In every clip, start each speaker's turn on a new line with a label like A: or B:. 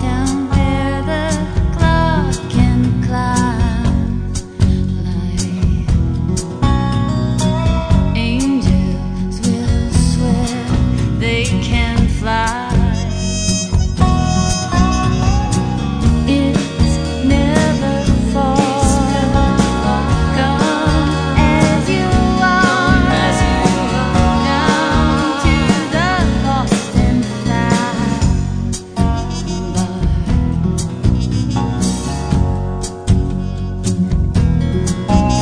A: Down where the cloud can climb, like angels will swear they can fly. It's never far. Come as you are, down to the lost and found.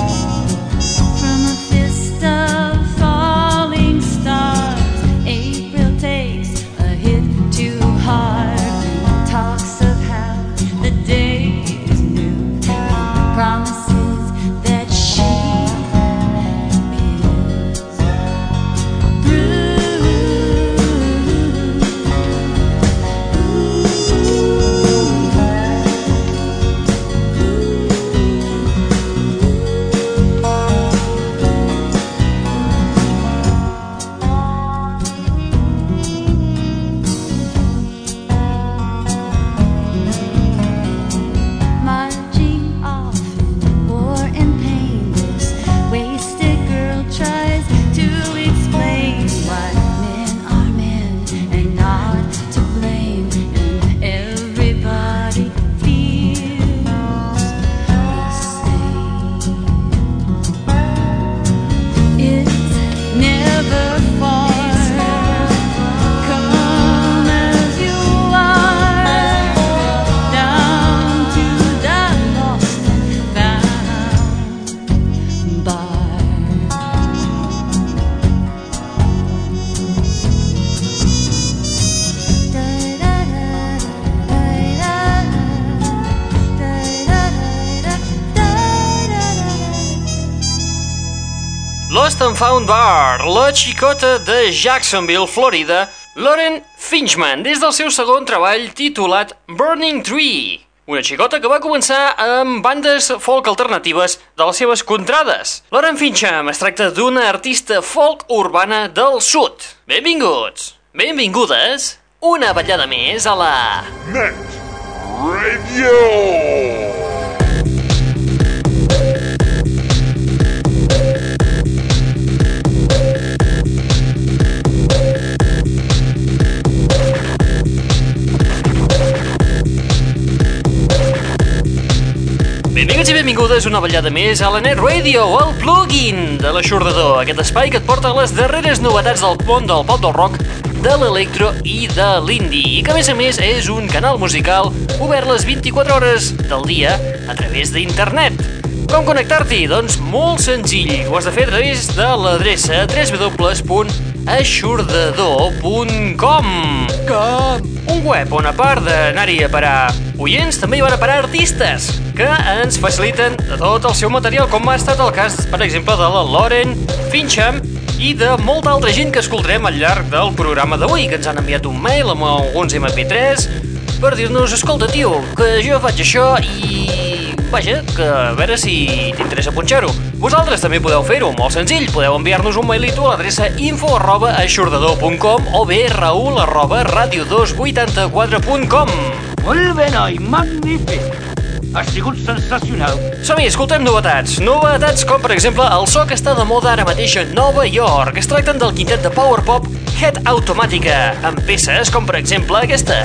A: From a fist of falling stars, April takes a hit too hard. Talks of how the day is new, promises that she is through. marching off in war and pain. This wasted girl tries to explain why men are men and not to blame, and everybody feels the same. It's never far. Come as you are, down to the lost and found bar.
B: Lost and Found Bar, la xicota de Jacksonville, Florida, Lauren Finchman, des del seu segon treball titulat Burning Tree. Una xicota que va començar amb bandes folk alternatives de les seves contrades. Lauren Fincham es tracta d'una artista folk urbana del sud. Benvinguts, benvingudes, una ballada més a la...
C: Net Radio.
B: Benvinguts i benvingudes una ballada més a la Net Radio, el plugin de l'aixordador, aquest espai que et porta les darreres novetats del món del pop del rock, de l'electro i de l'indie, i que a més a més és un canal musical obert les 24 hores del dia a través d'internet. Com connectar-t'hi? Doncs molt senzill, ho has de fer a través de l'adreça www.aixordador.com un web on a part d'anar-hi a parar oients, també hi van a parar artistes que ens faciliten tot el seu material, com ha estat el cas, per exemple, de la Lauren Fincham i de molta altra gent que escoltarem al llarg del programa d'avui, que ens han enviat un mail amb alguns MP3 per dir-nos, escolta, tio, que jo faig això i... Vaja, que a veure si t'interessa punxar-ho. Vosaltres també podeu fer-ho, molt senzill. Podeu enviar-nos un mailito a l'adreça info arroba aixordador.com o bé raül arroba radio284.com.
D: Molt bé, noi, magnífic. Ha sigut sensacional.
B: Som-hi, escoltem novetats. Novetats com, per exemple, el so que està de moda ara mateix a Nova York. Es tracten del quintet de power pop Head Automàtica, amb peces com, per exemple, aquesta.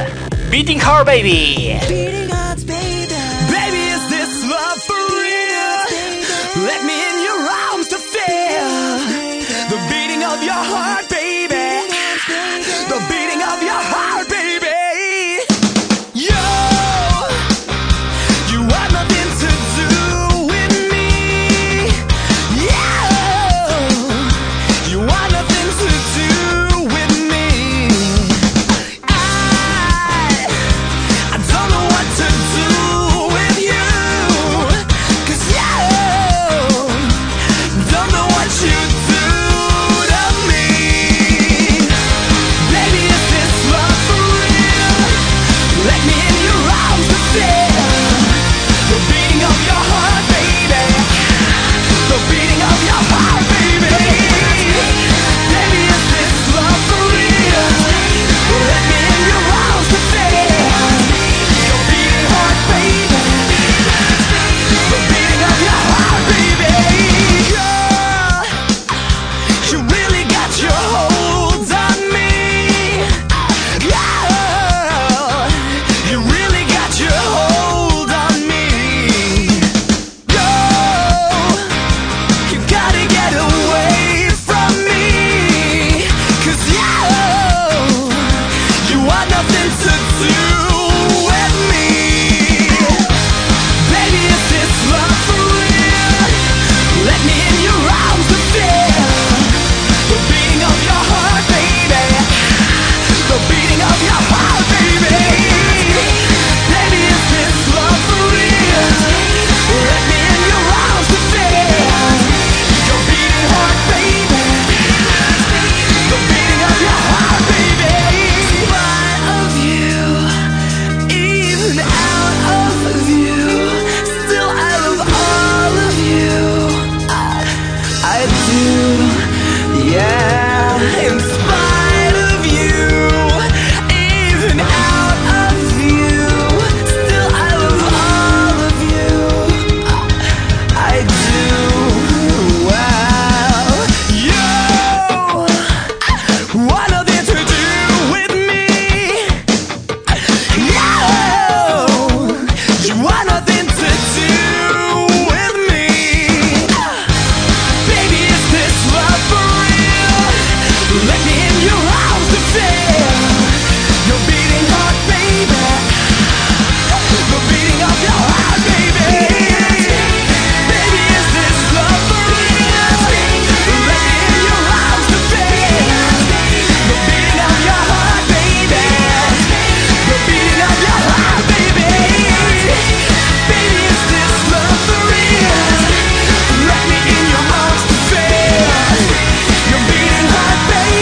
B: Beating Her Baby.
E: Beating hearts, baby.
F: Baby, is this love for real? Let me in your arms to feel the beating of your heart, baby. The beating of your heart, baby. Yo, you had nothing to do with me. Yeah, you had nothing to do with me. I. I don't know what to do with you. Cause you don't know what you do yeah. In spite of you, even out of view, still I love all of you. I do. Well, you want nothing to do with me. No, you want nothing to do with me. Baby, is this love for real? Let me in your arms to feel your beating heart, baby. The beating of your heart, baby. Baby, is this love for real? Let me in your arms to feel the beating of your heart, baby. The beating of your heart, baby. Baby, is this love for real? Let me in your arms to feel your beating heart, baby.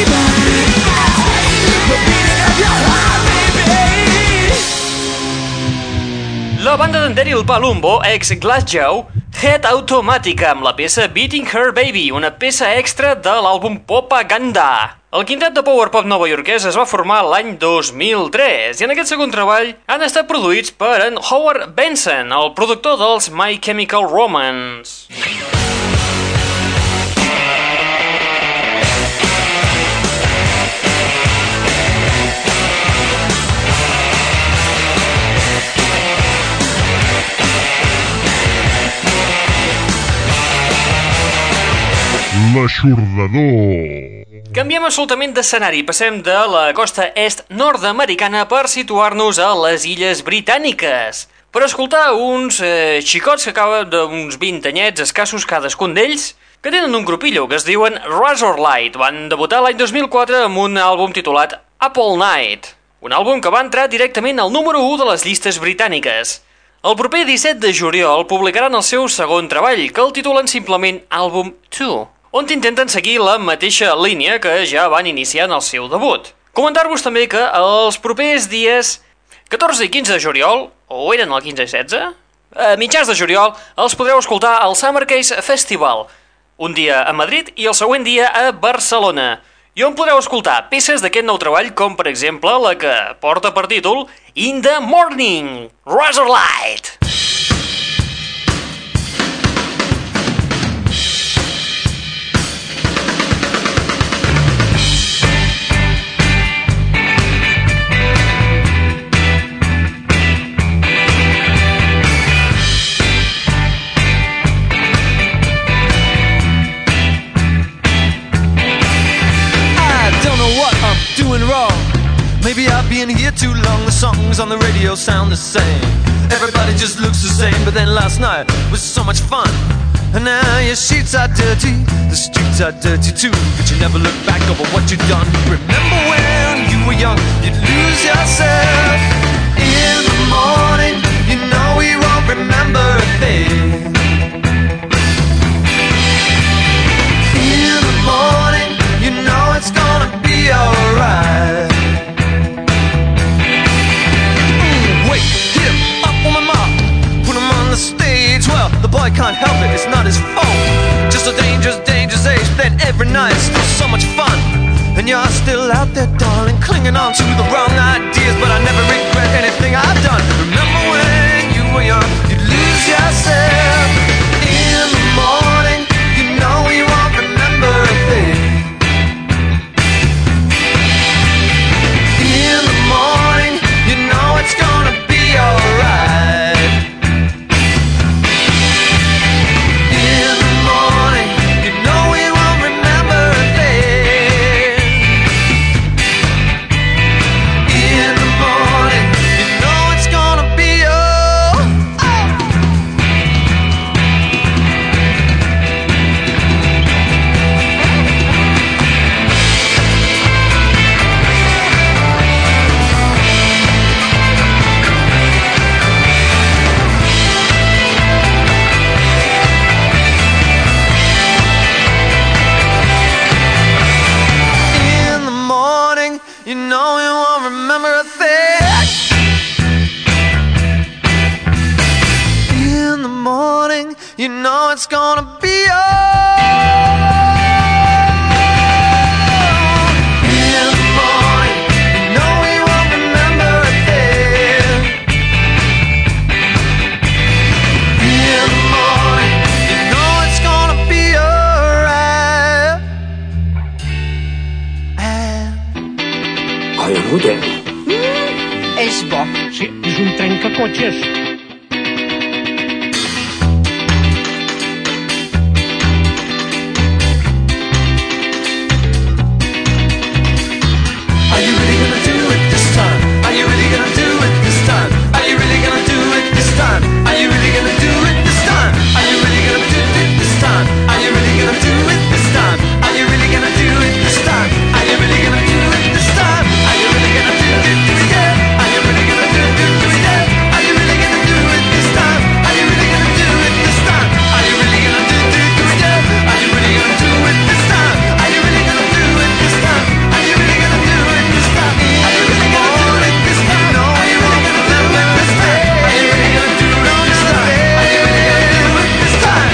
F: The beating of your heart, baby.
B: La banda d'en Daryl Palumbo, ex Glassjaw, Head Automàtica amb la peça Beating Her Baby, una peça extra de l'àlbum Popaganda. El quintet de power pop novaiorquès es va formar l'any 2003 i en aquest segon treball han estat produïts per en Howard Benson, el productor dels My Chemical Romance.
C: L'aixordador.
B: Canviem absolutament d'escenari, passem de la costa est nord-americana per situar-nos a les illes britàniques. Per escoltar uns eh, xicots que acaben d'uns 20 anyets escassos cadascun d'ells, que tenen un grupillo que es diuen Razorlight. Van debutar l'any 2004 amb un àlbum titulat Apple Night, un àlbum que va entrar directament al número 1 de les llistes britàniques. El proper 17 de juliol publicaran el seu segon treball, que el titulen simplement Àlbum 2 on intenten seguir la mateixa línia que ja van iniciar en el seu debut. Comentar-vos també que els propers dies 14 i 15 de juliol, o eren el 15 i 16? A mitjans de juliol els podreu escoltar al Summer Case Festival, un dia a Madrid i el següent dia a Barcelona, i on podreu escoltar peces d'aquest nou treball com per exemple la que porta per títol In the Morning, Razorlight.
F: I don't know what I'm doing wrong. Maybe I've been here too long. The songs on the radio sound the same. Everybody just looks the same. But then last night was so much fun. And now your sheets are dirty, the streets are dirty too. But you never look back over what you've done. Remember when you were young, you'd lose yourself. In the morning, you know we won't remember a thing. in the morning, you know it's gonna be alright. Mm, wait, hit him up on the mop, put him on the stage. Well, the boy can't help it, it's not his fault. Just a dangerous, dangerous age. Then every night it's still so much fun. And you're still out there, darling, clinging on to the wrong ideas. But I never regret anything I've done. Remember when you were young, you'd lose yourself. In the morning, you know you won't remember a thing. In the morning, you know it's gonna be alright. In the morning, you know we won't remember a thing. In the morning, you know it's gonna be oh. alright. in the morning. You know you won't remember a thing. In the morning, you know it's gonna be all.
G: begut, eh?
H: És bo.
G: Sí, és un trencacotxes.
I: Are you really gonna do it this time? Are you really gonna do it this time? Are you really gonna do it this time? Are you really gonna do it this time? Are you really gonna do it this time? Are you really gonna do it this time? Are you really gonna do it this time? Are you really gonna do it this time? Are you really gonna do it this time? Are you really gonna do it this time? Are you really gonna do it this time? Are you really gonna do it this time? Are you really gonna do it this time? Are you really gonna do it this time? Are you really gonna do it this time? Are you really gonna do it this time? Are you really gonna do it this time? Are you really gonna do it this time? Are you really gonna do it this time? Are you really gonna do it this time? In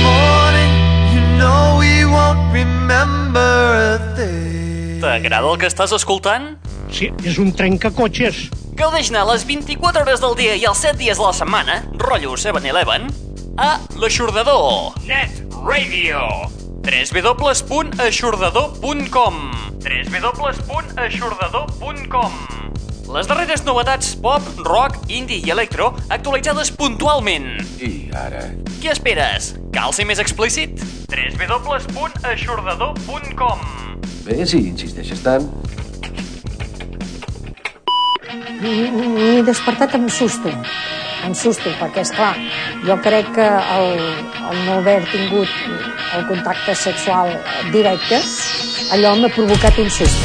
I: the morning, you know we won't remember a thing.
B: T'agrada el que estàs escoltant?
G: Sí, és un trencacotxes.
B: Gaudeix-ne les 24 hores del dia i els 7 dies de la setmana, rotllo 7-Eleven, a l'Aixordador. Net Radio. www.aixordador.com www.aixordador.com Les darreres novetats pop, rock, indie i electro actualitzades puntualment. I ara? Què esperes? Cal ser més explícit? www.aixordador.com
J: Bé, si insisteixes tant.
K: M'he despertat amb susto, amb susto, perquè, és clar, jo crec que el, el no haver tingut el contacte sexual directe, allò m'ha provocat un susto.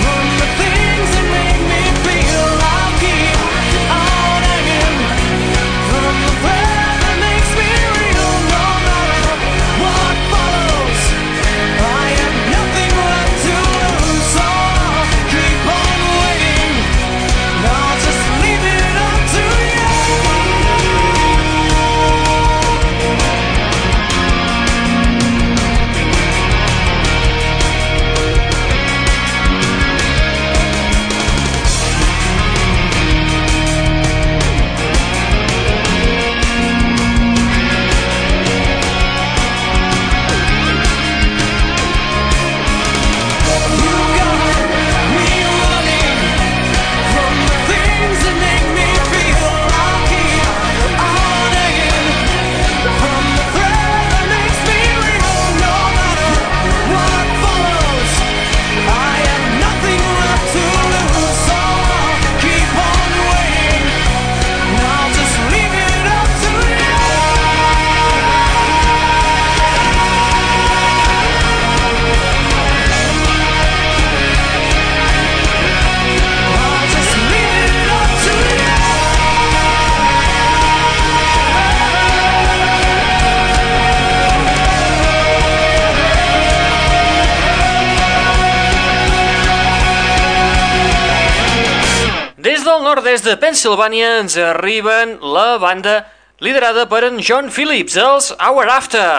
I: From the things that make me feel like
B: Del nord-est de Pensilvània ens arriben la banda liderada per en John Phillips, els Hour After,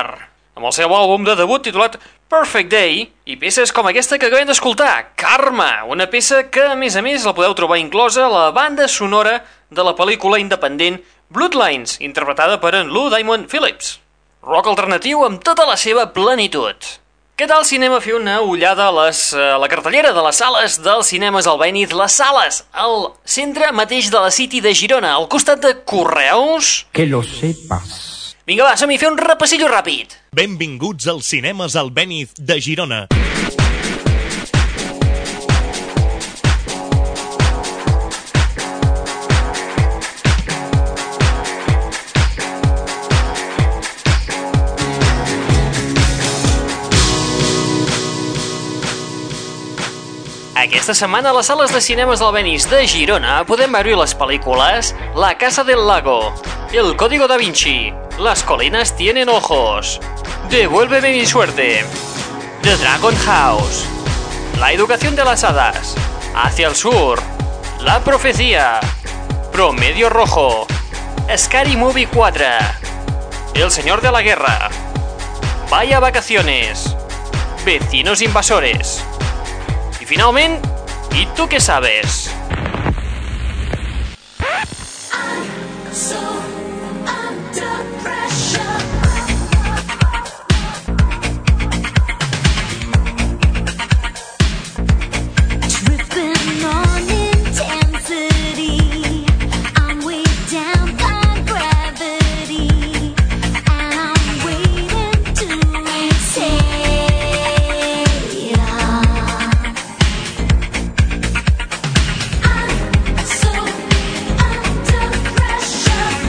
B: amb el seu àlbum de debut titulat Perfect Day i peces com aquesta que acabem d'escoltar, Karma, una peça que, a més a més, la podeu trobar inclosa a la banda sonora de la pel·lícula independent Bloodlines, interpretada per en Lou Diamond Phillips. Rock alternatiu amb tota la seva plenitud. Què tal si anem a fer una ullada a les, eh, a la cartellera de les sales dels cinemes al Benit? Les sales, al centre mateix de la City de Girona, al costat de Correus.
L: Que lo sepas.
B: Vinga, va, som-hi, fer un repassillo ràpid.
M: Benvinguts als cinemes al Béniz de Girona.
B: Aquesta setmana a les sales de cinemes del Benís de Girona podem veure les pel·lícules La Casa del Lago, El Código da Vinci, Las Colinas Tienen Ojos, Devuélveme mi suerte, The Dragon House, La Educación de las Hadas, Hacia el Sur, La Profecía, Promedio Rojo, Scary Movie 4, El Señor de la Guerra, Vaya Vacaciones, Vecinos Invasores, i finalment, i tu què sabes?
A: So under pressure. Dripping on intensity. I'm weighed down by gravity. And I'm waiting to exhale. I'm so under pressure.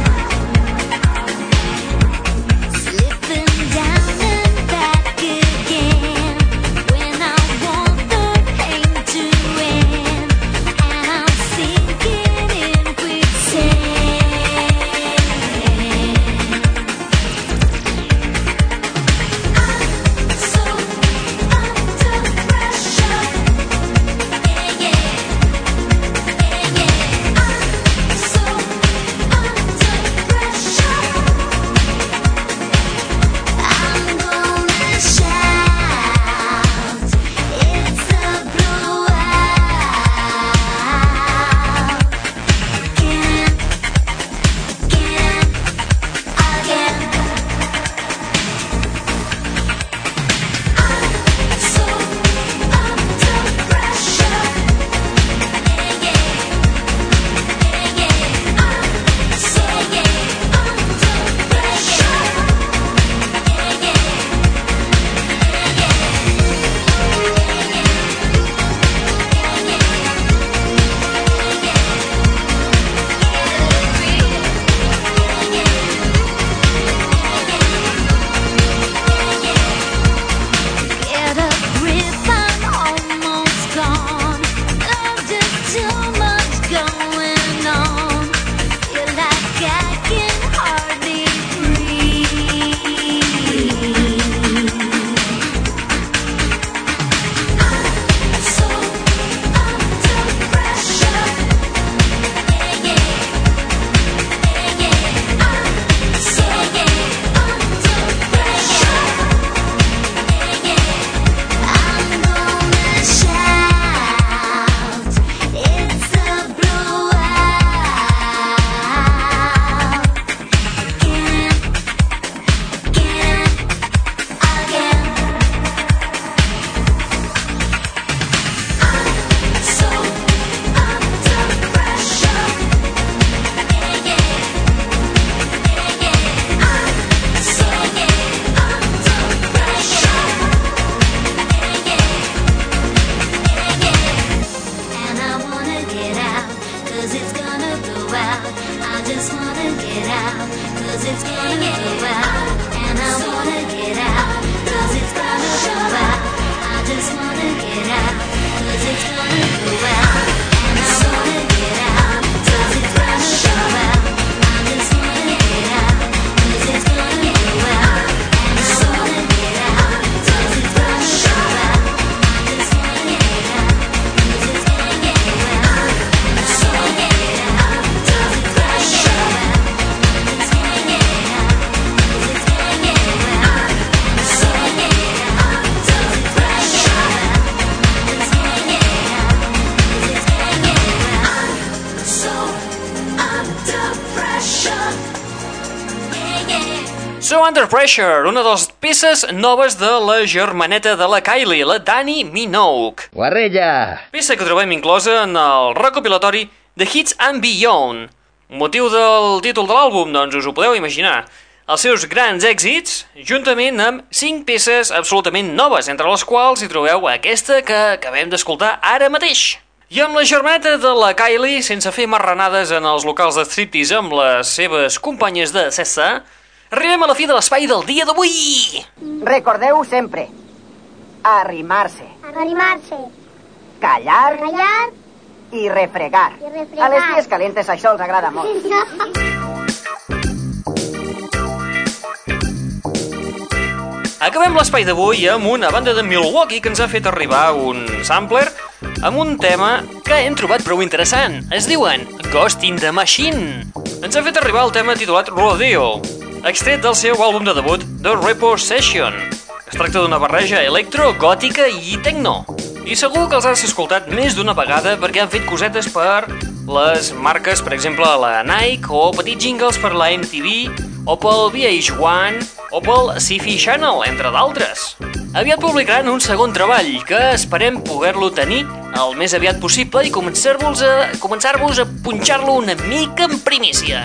B: Under Pressure, una de les peces noves de la germaneta de la Kylie, la Dani Minogue.
N: Guarrella!
B: Peça que trobem inclosa en el recopilatori The Hits and Beyond. Motiu del títol de l'àlbum, doncs us ho podeu imaginar. Els seus grans èxits, juntament amb 5 peces absolutament noves, entre les quals hi trobeu aquesta que acabem d'escoltar ara mateix. I amb la germaneta de la Kylie, sense fer marranades en els locals de striptease amb les seves companyes de cesta, arribem a la fi de l'espai del dia d'avui!
G: Recordeu sempre, arrimar-se,
I: Arrimarse,
G: callar
I: callar
G: i refregar.
I: i refregar.
G: A les dies calentes això els agrada molt.
B: Acabem l'espai d'avui amb una banda de Milwaukee que ens ha fet arribar un sampler amb un tema que hem trobat prou interessant. Es diuen Ghost in the Machine. Ens ha fet arribar el tema titulat Rodeo, extret del seu àlbum de debut The Repo Session. Es tracta d'una barreja electro, gòtica i techno. I segur que els has escoltat més d'una vegada perquè han fet cosetes per les marques, per exemple, la Nike, o petits jingles per la MTV, o pel VH1, o pel Sci-Fi Channel, entre d'altres. Aviat publicaran un segon treball que esperem poder-lo tenir el més aviat possible i començar-vos a, començar-vos a punxar-lo una mica en primícia.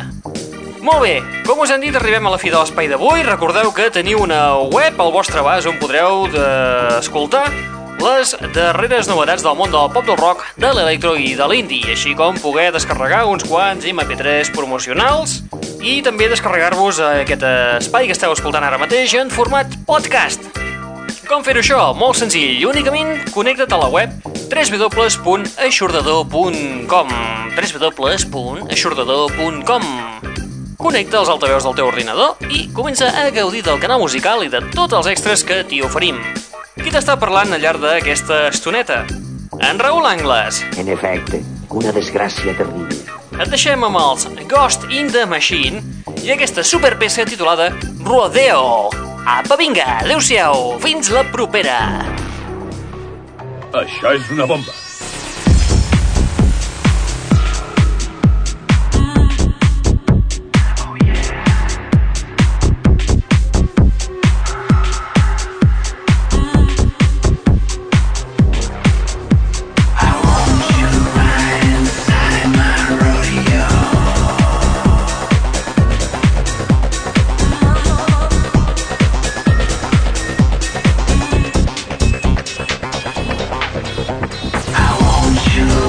B: Molt bé, com us han dit, arribem a la fi de l'espai d'avui. Recordeu que teniu una web al vostre abast on podreu de... escoltar les darreres novetats del món del pop del rock, de l'electro i de l'indi, així com poder descarregar uns quants MP3 promocionals i també descarregar-vos aquest eh, espai que esteu escoltant ara mateix en format podcast. Com fer això? Molt senzill, únicament connecta't a la web www.aixordador.com www.aixordador.com Connecta els altaveus del teu ordinador i comença a gaudir del canal musical i de tots els extras que t'hi oferim. Qui t'està parlant al llarg d'aquesta estoneta? En Raül Angles.
O: En efecte, una desgràcia terrible.
B: Et deixem amb els Ghost in the Machine i aquesta superpeça titulada Rodeo. Apa, vinga, adeu-siau, fins la propera.
P: Això és una bomba.
Q: Ah!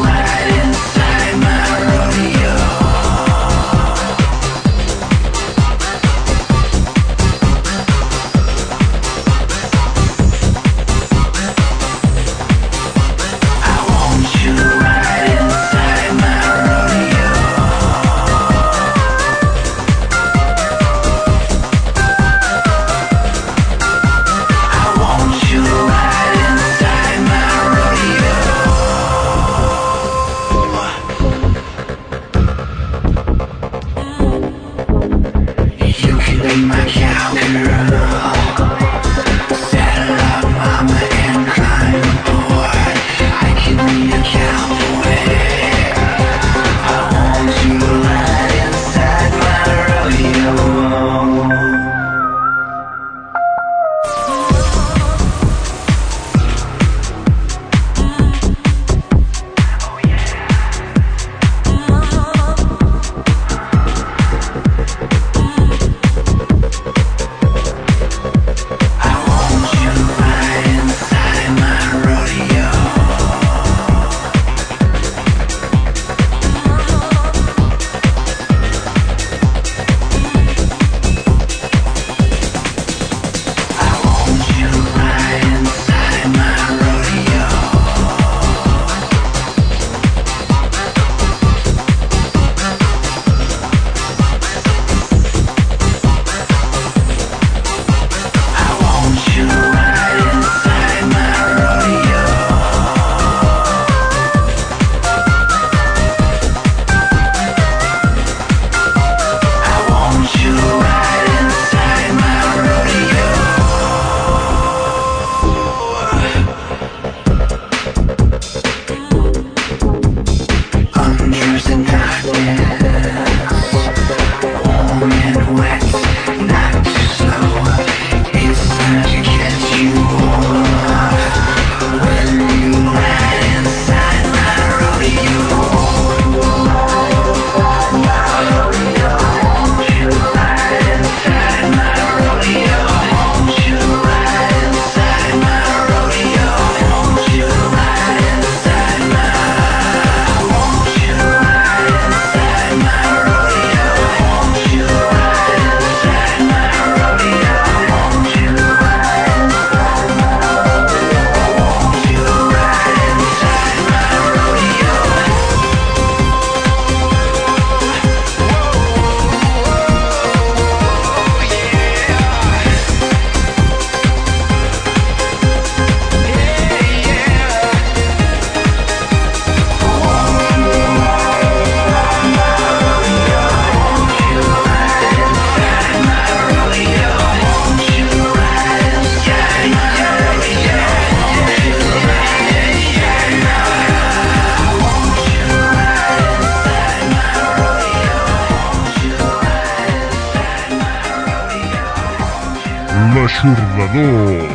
C: l'aixordador.
B: pues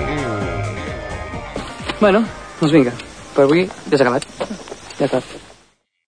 B: Bueno, doncs vinga, per avui desacabat. Ja està.